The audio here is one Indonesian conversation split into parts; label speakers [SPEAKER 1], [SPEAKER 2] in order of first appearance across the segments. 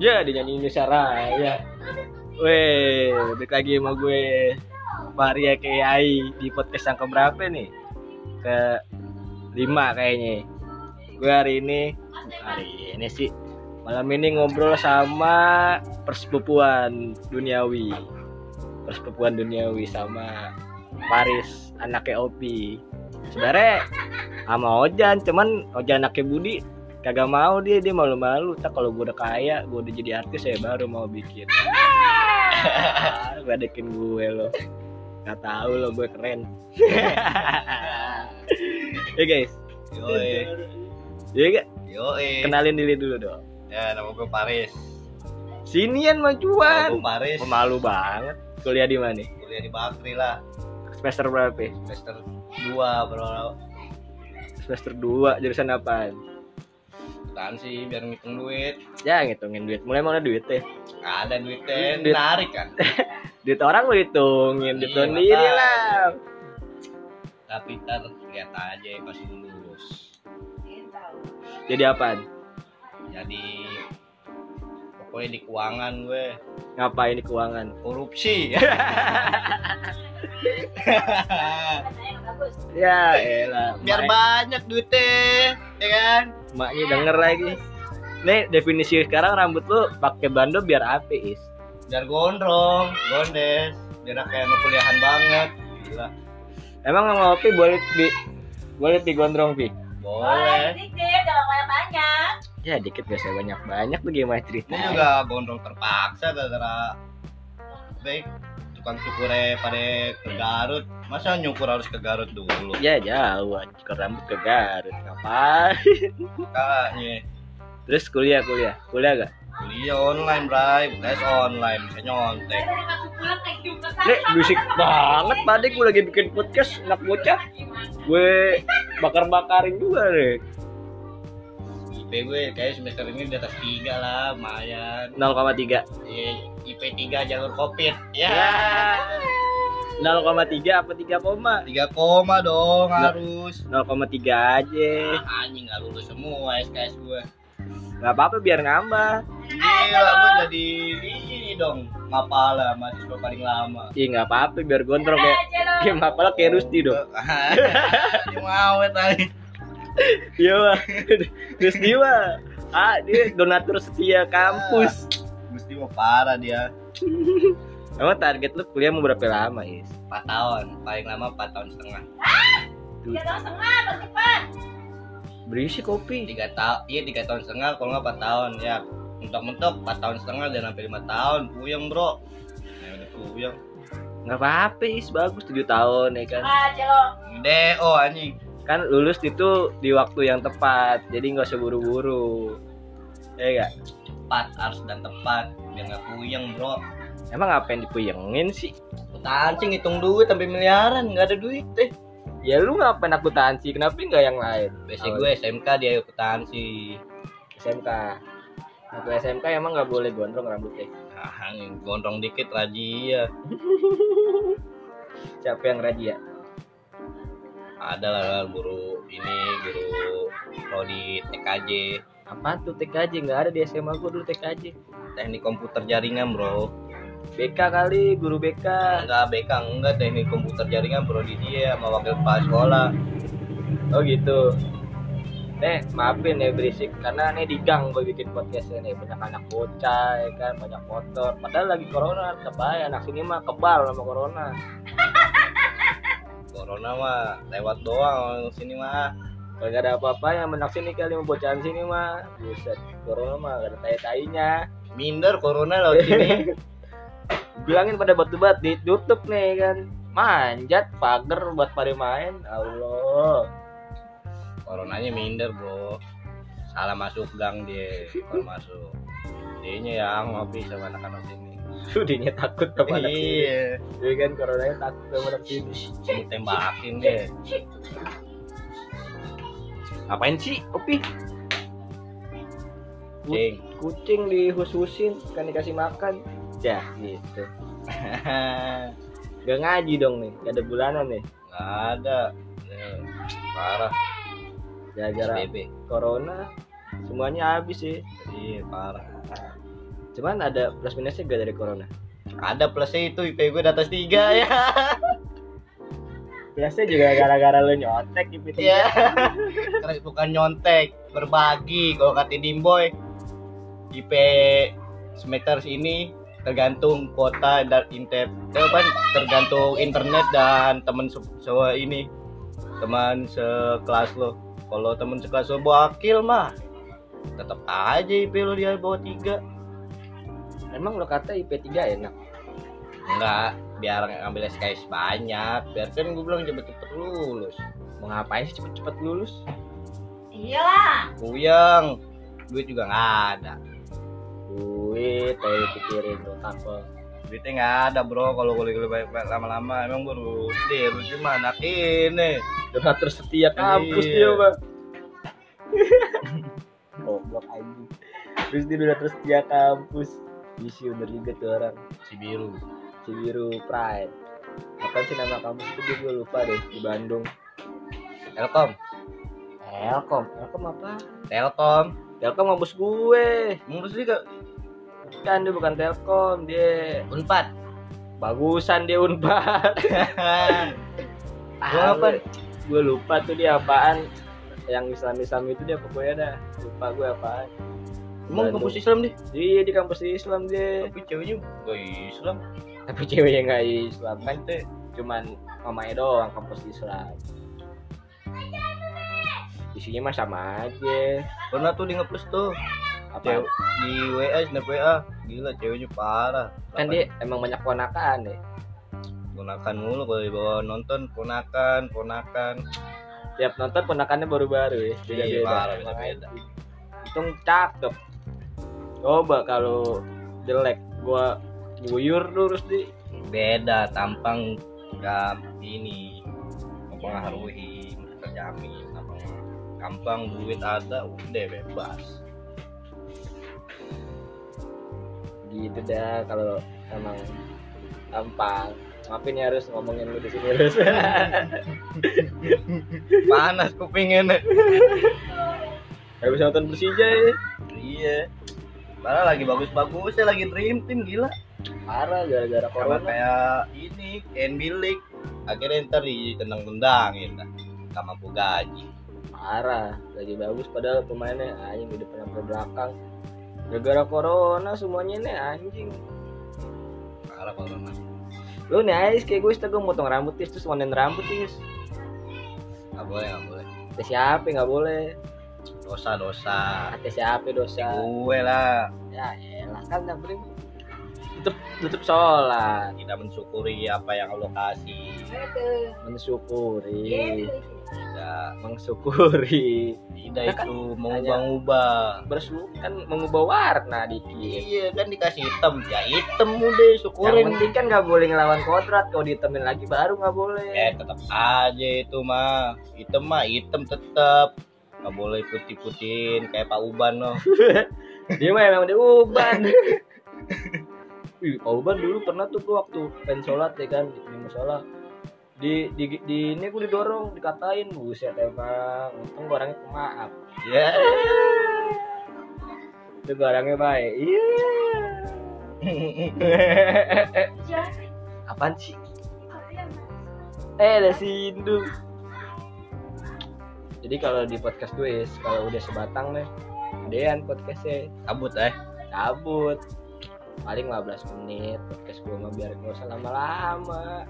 [SPEAKER 1] Ya, dinyanyiin Sarah ya. Weh, balik lagi sama gue Maria KAI di podcast yang keberapa nih? Ke lima kayaknya. Gue hari ini hari ini sih malam ini ngobrol sama persepupuan duniawi. Persepupuan duniawi sama Paris anaknya Opi. Sebenarnya sama Ojan, cuman Ojan anaknya Budi kagak mau dia dia malu-malu tak kalau gue udah kaya gue udah jadi artis ya baru mau bikin badekin gue lo nggak tahu lo gue keren ya guys
[SPEAKER 2] Yoi.
[SPEAKER 1] ya gak?
[SPEAKER 2] Yoi.
[SPEAKER 1] kenalin diri dulu dong
[SPEAKER 2] Ya, nama gue Paris.
[SPEAKER 1] sinian
[SPEAKER 2] Nama
[SPEAKER 1] majuan
[SPEAKER 2] gue Paris.
[SPEAKER 1] pemalu banget kuliah di mana
[SPEAKER 2] Kuliah di Bakri lah.
[SPEAKER 1] semester berapa ya?
[SPEAKER 2] Semester 2 bro.
[SPEAKER 1] semester 2 jurusan apaan
[SPEAKER 2] Tahan sih biar ngitung duit.
[SPEAKER 1] ya ngitungin duit mulai mana duit ya
[SPEAKER 2] Nggak ada duitnya.
[SPEAKER 1] Duit.
[SPEAKER 2] Menarik kan.
[SPEAKER 1] duit orang lo hitungin duit
[SPEAKER 2] Iya,
[SPEAKER 1] lo sendiri
[SPEAKER 2] makanya.
[SPEAKER 1] lah
[SPEAKER 2] Tapi ntar lihat aja pas lulus.
[SPEAKER 1] jadi apaan
[SPEAKER 2] Jadi pokoknya di keuangan gue
[SPEAKER 1] ngapain di keuangan
[SPEAKER 2] korupsi.
[SPEAKER 1] ya elah
[SPEAKER 2] Eh, biar
[SPEAKER 1] Main-
[SPEAKER 2] banyak duitnya, ya kan?
[SPEAKER 1] Maknya denger lagi. Nih definisi sekarang rambut lu pakai bando biar apa is?
[SPEAKER 2] Biar gondrong, gondes, biar kayak anak kuliahan banget. Gila.
[SPEAKER 1] Emang sama Opi boleh di boleh digondrong pi?
[SPEAKER 2] Boleh.
[SPEAKER 3] Boleh dikit, jangan banyak-banyak.
[SPEAKER 1] Ya dikit gak usah banyak banyak tuh gimana
[SPEAKER 2] Ini
[SPEAKER 1] ceritanya?
[SPEAKER 2] juga gondrong terpaksa gara-gara baik tukang cukurnya pada ke Garut. Masa nyukur harus ke Garut dulu?
[SPEAKER 1] Ya jauh, cukur rambut ke Garut ngapain?
[SPEAKER 2] Kakaknya
[SPEAKER 1] Terus kuliah kuliah kuliah gak?
[SPEAKER 2] kuliah online, Bray. Tes online, bisa nyontek.
[SPEAKER 3] Dari aku pulang kayak jumpa
[SPEAKER 1] Nih bisik banget pade gue lagi bikin podcast anak bocah. Gue bakar bakarin juga nih.
[SPEAKER 2] IP gue kayak semester ini di atas 3 lah, lumayan.
[SPEAKER 1] 0,3.
[SPEAKER 2] Iya, IP 3 jalur Covid.
[SPEAKER 1] Ya.
[SPEAKER 2] Ya.
[SPEAKER 1] 0,3 apa 3 koma?
[SPEAKER 2] 3 koma dong
[SPEAKER 1] Nah.
[SPEAKER 2] harus.
[SPEAKER 1] 0,3 aja.
[SPEAKER 2] Ah, anjing nggak lulus semua SKS gue.
[SPEAKER 1] Gak apa-apa biar ngambah.
[SPEAKER 2] Gila, gue jadi ini dong. Mapala mahasiswa paling lama.
[SPEAKER 1] Ih nggak apa-apa biar gondrong kayak kayak apalah kayak Rusti dong.
[SPEAKER 2] Dia mau eh, tadi.
[SPEAKER 1] Iya Wak. Rusti mah. Ah dia donatur setia kampus.
[SPEAKER 2] Gusti mau parah dia.
[SPEAKER 1] Emang target lu kuliah mau berapa lama is?
[SPEAKER 2] 4 tahun, paling lama 4 tahun setengah.
[SPEAKER 1] Tuh,
[SPEAKER 3] Tiga tahun setengah, bercepat.
[SPEAKER 1] berisi kopi.
[SPEAKER 2] 3 tahun, iya 3 tahun setengah kalau nggak 4 tahun ya. Mentok-mentok 4 tahun setengah dan sampai 5 tahun, puyeng bro. Ya udah puyeng.
[SPEAKER 1] Nggak apa-apa is bagus 7 tahun ya kan.
[SPEAKER 3] Ah, jelo.
[SPEAKER 2] DO oh, anjing.
[SPEAKER 1] Kan lulus itu di waktu yang tepat jadi nggak usah buru-buru. Ya gak?
[SPEAKER 2] Tepat harus dan tepat biar nggak puyeng bro.
[SPEAKER 1] Emang ngapain dipuyengin sih?
[SPEAKER 2] Tancing hitung duit sampai miliaran, nggak ada duit eh.
[SPEAKER 1] Ya lu ngapain aku tansi? Kenapa nggak yang lain?
[SPEAKER 2] Basic gue SMK dia akuntansi.
[SPEAKER 1] SMK. Waktu SMK emang nggak boleh gondrong ya. rambutnya.
[SPEAKER 2] Ah, anjing, gondrong dikit razia.
[SPEAKER 1] Siapa yang ya? rajia?
[SPEAKER 2] ada lah guru ini guru prodi TKJ
[SPEAKER 1] apa tuh TKJ nggak ada di SMA gua dulu TKJ
[SPEAKER 2] teknik komputer jaringan bro
[SPEAKER 1] BK kali guru BK
[SPEAKER 2] enggak BK enggak teknik komputer jaringan prodi dia sama wakil kepala sekolah
[SPEAKER 1] oh gitu Nih, maafin ya berisik karena nih di gang gue bikin podcast ini banyak anak bocah ya kan banyak motor padahal lagi corona kebay anak sini mah kebal sama corona
[SPEAKER 2] corona mah lewat doang orang sini mah
[SPEAKER 1] kalau nggak ada apa-apa yang anak sini kali mau bocahan sini mah buset corona mah gak ada tai-tainya
[SPEAKER 2] minder corona lewat sini
[SPEAKER 1] bilangin pada batu-bat di YouTube nih kan manjat pagar buat pada main Allah
[SPEAKER 2] coronanya minder bro salah masuk gang dia kalau masuk dianya yang ngopi sama anak-anak sini
[SPEAKER 1] sudinya takut sama anak sini
[SPEAKER 2] iya
[SPEAKER 1] Iya kan coronanya takut sama anak sini.
[SPEAKER 2] mau tembakin deh
[SPEAKER 1] Ngapain sih, Opi?
[SPEAKER 2] cing
[SPEAKER 1] Kucing dihus-husin kan dikasih makan. Ya, gitu. Gak ngaji dong nih, gak ada bulanan nih.
[SPEAKER 2] nggak ada Nih, parah
[SPEAKER 1] Gara-gara
[SPEAKER 2] SBB
[SPEAKER 1] corona semuanya habis sih.
[SPEAKER 2] Iya parah.
[SPEAKER 1] Cuman ada plus minusnya gak dari corona?
[SPEAKER 2] Ada plusnya itu IP gue di atas 3 ya.
[SPEAKER 1] Plusnya juga gara-gara lu nyotek gitu
[SPEAKER 2] Iya. Karena bukan nyontek, berbagi kalau kata Dimboy. IP semester sini tergantung kuota dan internet apa tergantung internet dan teman se se- ini teman sekelas lo kalau teman sekelas lo bakil mah tetap aja IP lo dia bawa tiga
[SPEAKER 1] Emang lo kata IP3 enak?
[SPEAKER 2] Enggak, biar ngambil SKS banyak. Biar kan gue bilang cepet-cepet lulus.
[SPEAKER 1] Mau ngapain sih cepet-cepet lulus?
[SPEAKER 3] Iya Iyalah.
[SPEAKER 2] Kuyang, duit juga nggak ada.
[SPEAKER 1] Duit, ayo pikirin lo apa?
[SPEAKER 2] Duitnya nggak ada bro, kalau kuliah kuliah banyak banyak lama-lama emang gue lulus deh. Lulus gimana? Ini
[SPEAKER 1] Donatur setia kampus
[SPEAKER 2] Iya.
[SPEAKER 1] dia bang. Goblok anjing. Terus dia donatur setia kampus. Isi udah juga tuh orang.
[SPEAKER 2] si biru.
[SPEAKER 1] Cibiru Pride. Apa sih nama kampus itu gue- gue lupa deh di Bandung.
[SPEAKER 2] Telkom,
[SPEAKER 1] Telkom. Telkom apa?
[SPEAKER 2] Telkom.
[SPEAKER 1] Telkom kampus gue.
[SPEAKER 2] Lulus juga
[SPEAKER 1] Kan dia bukan Telkom, dia
[SPEAKER 2] unpad.
[SPEAKER 1] bagusan dia Unpad.
[SPEAKER 2] Gua apa?
[SPEAKER 1] Gue lupa tuh dia apaan yang Islam Islam itu dia pokoknya dah lupa gue apaan
[SPEAKER 2] emang
[SPEAKER 1] Bandung.
[SPEAKER 2] kampus Islam deh.
[SPEAKER 1] iya di kampus Islam dia
[SPEAKER 2] Tapi ceweknya gak Islam.
[SPEAKER 1] tapi ceweknya nggak Islam kan
[SPEAKER 2] Kan teh
[SPEAKER 1] cuman mamanya doang kampus Islam isinya mah sama aja
[SPEAKER 2] pernah tuh di ngeplus tuh
[SPEAKER 1] apa
[SPEAKER 2] cewek di WA, snap WA. Gila ceweknya parah.
[SPEAKER 1] kan dia emang banyak ponakan ya
[SPEAKER 2] ponakan mulu kalau dibawa nonton ponakan ponakan
[SPEAKER 1] tiap nonton ponakannya baru-baru ya beda
[SPEAKER 2] Iya,
[SPEAKER 1] beda
[SPEAKER 2] parah, beda-beda.
[SPEAKER 1] untung cakep coba kalau jelek gua guyur lurus di
[SPEAKER 2] beda tampang nggak ini mempengaruhi terjamin tampang gampang duit ada udah bebas
[SPEAKER 1] gitu dah kalau emang gampang maafin ya harus ngomongin lu di sini harus
[SPEAKER 2] panas kupingnya
[SPEAKER 1] habis nonton Persija ya
[SPEAKER 2] iya Padahal lagi bagus-bagusnya lagi dream team gila
[SPEAKER 1] parah gara-gara
[SPEAKER 2] sama
[SPEAKER 1] corona
[SPEAKER 2] kayak ini NBA League akhirnya ntar ditendang-tendangin dah gak mampu gaji
[SPEAKER 1] parah lagi bagus padahal pemainnya anjing di depan sampai belakang gara-gara corona semuanya nih anjing
[SPEAKER 2] parah corona
[SPEAKER 1] lu nih ais kayak gue setelah gue motong rambut tis terus warnain rambut tis
[SPEAKER 2] nggak boleh nggak boleh
[SPEAKER 1] Kata siapa nggak boleh
[SPEAKER 2] dosa dosa
[SPEAKER 1] kata siapa dosa
[SPEAKER 2] gue lah
[SPEAKER 1] ya elah kan yang penting tutup tutup sholat
[SPEAKER 2] tidak mensyukuri apa yang lo kasih
[SPEAKER 3] Gitu.
[SPEAKER 1] mensyukuri
[SPEAKER 3] Gitu.
[SPEAKER 2] tidak
[SPEAKER 1] mensyukuri
[SPEAKER 2] tidak
[SPEAKER 1] Nah, kan
[SPEAKER 2] itu mengubah-ubah
[SPEAKER 1] bersyukur kan mengubah warna dikit
[SPEAKER 2] iya kan dikasih hitam ya hitam udah
[SPEAKER 1] yang
[SPEAKER 2] syukurin
[SPEAKER 1] penting kan nggak boleh ngelawan kodrat kalau ditemen lagi baru nggak boleh
[SPEAKER 2] eh tetap aja itu mah hitam mah hitam tetap nggak boleh putih-putihin kayak Pak Uban loh
[SPEAKER 1] dia mah emang dia uban Wih, Pak Uban dulu pernah tuh gua waktu pengen sholat ya kan di musola di, di, di ini gue didorong dikatain buset emang untung gua orangnya pemaaf
[SPEAKER 2] ya
[SPEAKER 1] itu gua orangnya baik iya
[SPEAKER 3] Jadi,
[SPEAKER 1] apaan sih
[SPEAKER 3] kalian
[SPEAKER 1] eh ada si Indu jadi kalau di podcast gue Is, kalau udah sebatang deh gedean podcastnya
[SPEAKER 2] kabut eh
[SPEAKER 1] cabut paling 15 menit podcast gue mah biar gak usah lama-lama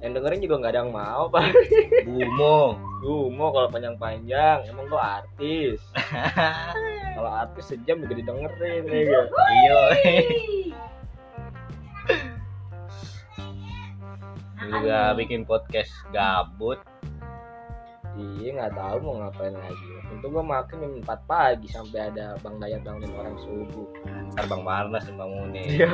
[SPEAKER 1] yang dengerin juga nggak ada yang mau pak
[SPEAKER 2] bumo
[SPEAKER 1] Duh, mau kalau panjang-panjang emang lo artis kalau artis sejam juga didengerin ya gak?
[SPEAKER 2] iya juga bikin podcast gabut
[SPEAKER 1] iya nggak tahu mau ngapain lagi untung gue makin jam 4 pagi sampai ada bang Dayat bangunin orang subuh
[SPEAKER 2] ntar Bang Warnas yang bangunin
[SPEAKER 1] iya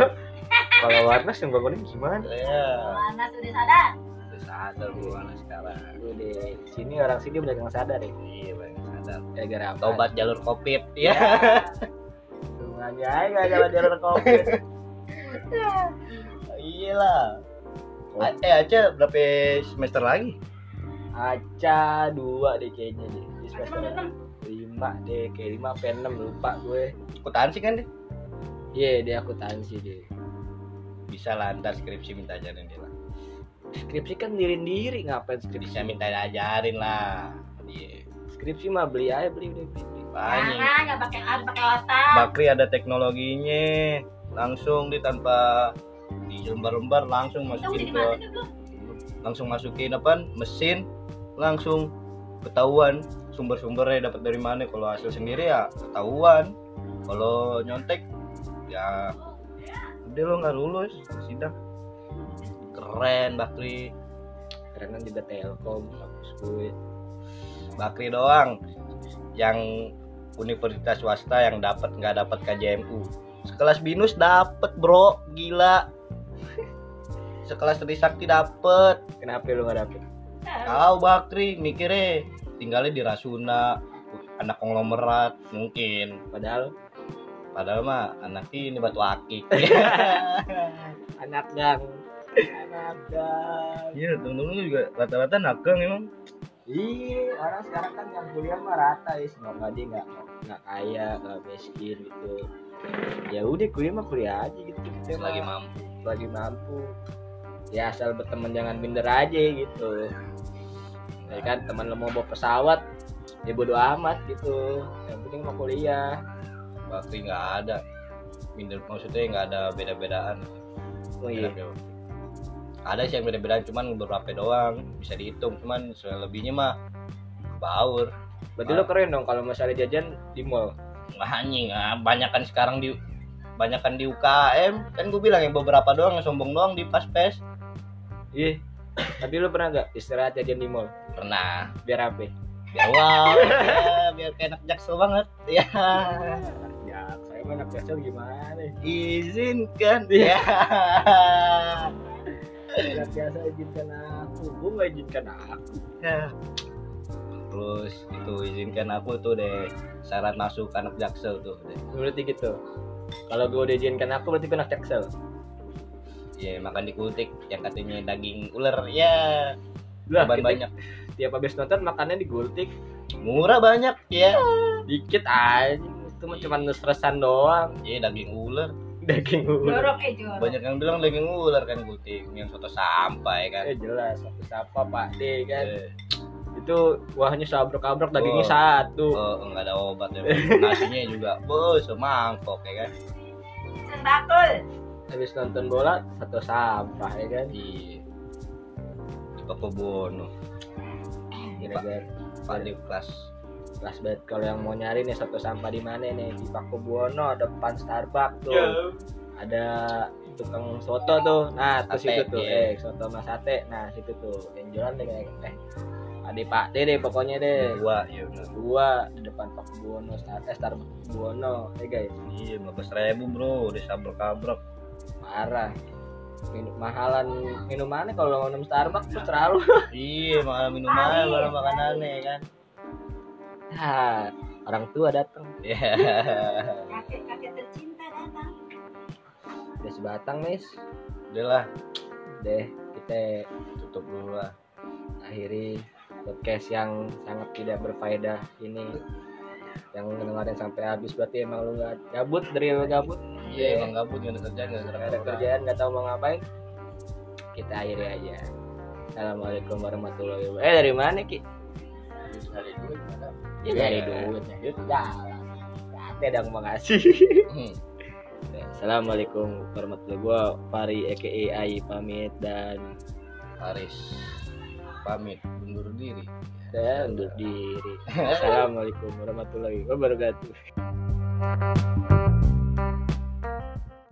[SPEAKER 1] kalau warna yang bangunin gimana
[SPEAKER 2] ya
[SPEAKER 3] Mana sudah sadar?
[SPEAKER 2] udah sadar gue anak sekarang
[SPEAKER 1] lu di sini orang sini udah nggak sadar ya
[SPEAKER 2] iya bang sadar
[SPEAKER 1] gara-gara apa?
[SPEAKER 2] tobat jalur covid ya
[SPEAKER 1] Tungannya aja nggak jalan-jalan kopi
[SPEAKER 2] iyalah A- eh aja berapa semester lagi
[SPEAKER 1] Aca dua deh kayaknya deh. Di
[SPEAKER 3] Aku
[SPEAKER 1] semester
[SPEAKER 3] belum datang.
[SPEAKER 1] lima deh, kayak lima apa enam lupa gue.
[SPEAKER 2] ikutan sih kan deh
[SPEAKER 1] Iya, dia akuntansi dia.
[SPEAKER 2] bisa lah ntar skripsi minta ajarin dia lah
[SPEAKER 1] Skripsi kan diri-diri ngapain
[SPEAKER 2] bisa
[SPEAKER 1] skripsi?
[SPEAKER 2] minta ajarin lah iya
[SPEAKER 1] Skripsi mah beli aja beli beli. beli. beli.
[SPEAKER 2] banyak
[SPEAKER 3] Jangan, nggak pakai alat, pakai otak.
[SPEAKER 2] Bakri ada teknologinya langsung di tanpa dilembar-lembar langsung
[SPEAKER 3] Itu udah
[SPEAKER 2] masukin ke
[SPEAKER 3] dimatiin belum?
[SPEAKER 2] langsung masukin apa mesin langsung ketahuan sumber-sumbernya dapat dari mana kalau hasil sendiri ya ketahuan kalau nyontek ya udah lo nggak lulus sidang keren Bakri
[SPEAKER 1] Karena kan juga Telkom kampus gue.
[SPEAKER 2] Bakri doang yang universitas swasta yang dapat nggak dapat KJMU sekelas binus dapat bro gila sekelas Trisakti dapat
[SPEAKER 1] Kenapa lu gak dapet?
[SPEAKER 2] Tahu Bakri mikirnya tinggalnya di Rasuna anak konglomerat mungkin
[SPEAKER 1] Padahal
[SPEAKER 2] padahal mah anak ini batu akik
[SPEAKER 1] anak gang. anak gang.
[SPEAKER 2] iya temen-temen lu juga rata-rata nakeng emang
[SPEAKER 1] Iya, orang sekarang kan yang kuliah mah rata ya, semoga dia nggak nggak kaya, nggak miskin gitu. Ya udah kuliah mah kuliah aja gitu. Kita mah
[SPEAKER 2] lagi mampu
[SPEAKER 1] lagi mampu. Ya asal berteman jangan minder aja gitu. Ya kan teman lo mau bawa pesawat, ya bodo amat gitu. Yang penting mau kuliah.
[SPEAKER 2] Bakri nggak ada minder maksudnya nggak ada beda-bedaan
[SPEAKER 1] Oh iya.
[SPEAKER 2] Beda-beda. ada sih yang beda-bedaan cuman beberapa doang bisa dihitung cuman selebihnya mah baur
[SPEAKER 1] Berarti lo keren dong kalau misalnya jajan di mall.
[SPEAKER 2] anjing ah banyakan sekarang di banyakan di UKM kan gue bilang yang beberapa doang yang sombong doang di paspes
[SPEAKER 1] Iya. Tapi lo pernah nggak istirahat jajan di mall?
[SPEAKER 2] pernah
[SPEAKER 1] Biar apa?
[SPEAKER 2] biar wow ya, biar kayak anak jaksel banget ya
[SPEAKER 1] Ya, saya mah anak jajan gimana?
[SPEAKER 2] izinkan
[SPEAKER 1] Iya.
[SPEAKER 2] ya
[SPEAKER 1] Tidak biasa izinkan aku, gue gak izinkan aku.
[SPEAKER 2] terus itu izinkan aku tuh deh syarat masuk anak jaksel tuh deh
[SPEAKER 1] Berarti gitu. Kalau gue udah izinkan aku berarti gue anak jaksel.
[SPEAKER 2] ya makan dikutik yang katanya daging ular ya
[SPEAKER 1] Lah,
[SPEAKER 2] Korban
[SPEAKER 1] kita-
[SPEAKER 2] banyak
[SPEAKER 1] Tiap habis nonton makannya digultik,
[SPEAKER 2] murah banyak ya
[SPEAKER 1] dikit aja. Itu mah cuma nusresan doang.
[SPEAKER 2] ya daging ular
[SPEAKER 1] Daging ular.
[SPEAKER 3] Jorok eh jorok.
[SPEAKER 2] banyak yang bilang daging ular kan kutik yang soto sampah ya kan
[SPEAKER 1] Eh jelas, satu sapa Pak D kan.
[SPEAKER 2] Eh,
[SPEAKER 1] Itu wahnya sabrok-abrok dagingnya
[SPEAKER 2] Oh.
[SPEAKER 1] satu.
[SPEAKER 2] oh, nggak ada obat ya nasinya juga bos semangkok ya kan
[SPEAKER 3] Sen bakul.
[SPEAKER 1] Habis nonton bola satu sampah ya kan.
[SPEAKER 2] di di Pakubono
[SPEAKER 1] Gara-gara
[SPEAKER 2] Pak di kelas
[SPEAKER 1] kelas banget kalau yang mau nyari nih satu sampah di mana nih di Pakubuwono depan Starbucks tuh.
[SPEAKER 2] Ya.
[SPEAKER 1] ada tukang soto tuh nah terus
[SPEAKER 2] Sate,
[SPEAKER 1] itu tuh
[SPEAKER 2] iya.
[SPEAKER 1] eh soto mas sate nah situ tuh yang jualan deh kayak eh adik pak D deh pokoknya deh
[SPEAKER 2] dua ya bener.
[SPEAKER 1] dua di depan Pak Buwono Star eh Star Buwono eh guys
[SPEAKER 2] iya lima ribu bro udah sabrek kabrek
[SPEAKER 1] parah minum mahalan minumannya kalau minum Starbucks tuh terlalu
[SPEAKER 2] iya makan minuman makan makanannya ya kan
[SPEAKER 1] Hah, Nah, orang tua datang
[SPEAKER 2] ya
[SPEAKER 3] Kakek-kakek tercinta datang.
[SPEAKER 1] udah sebatang mis
[SPEAKER 2] udah lah
[SPEAKER 1] deh kita
[SPEAKER 2] tutup dulu lah
[SPEAKER 1] akhiri podcast yang sangat tidak berfaedah ini yang mendengarkan sampai habis berarti emang lu nggak gabut dari lu gabut
[SPEAKER 2] iya emang gabut nggak ada kerjaan nggak ada
[SPEAKER 1] nggak ada kerjaan nggak tahu mau ngapain kita akhiri aja assalamualaikum warahmatullahi wabarakatuh eh dari mana ki
[SPEAKER 2] dari duit mana?
[SPEAKER 1] ya dari duit duit jalan ada dong makasih
[SPEAKER 2] Hmm.
[SPEAKER 1] assalamualaikum warahmatullahi wabarakatuh Fari aka Ai pamit dan
[SPEAKER 2] Haris pamit undur diri
[SPEAKER 1] saya undur diri assalamualaikum warahmatullahi wabarakatuh